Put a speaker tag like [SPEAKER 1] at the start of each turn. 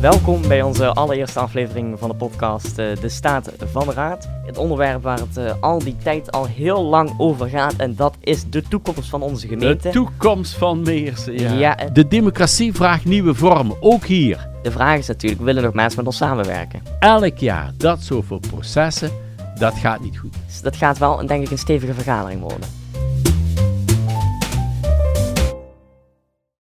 [SPEAKER 1] Welkom bij onze allereerste aflevering van de podcast eh, De Staat van de Raad. Het onderwerp waar het eh, al die tijd al heel lang over gaat en dat is de toekomst van onze gemeente.
[SPEAKER 2] De toekomst van Meersen, ja.
[SPEAKER 1] Ja, eh,
[SPEAKER 2] De democratie vraagt nieuwe vormen, ook hier.
[SPEAKER 1] de vraag is natuurlijk, willen nog mensen met ons samenwerken?
[SPEAKER 2] Elk jaar dat zoveel processen, dat gaat niet goed.
[SPEAKER 1] Dus dat gaat wel, denk ik, een stevige vergadering worden.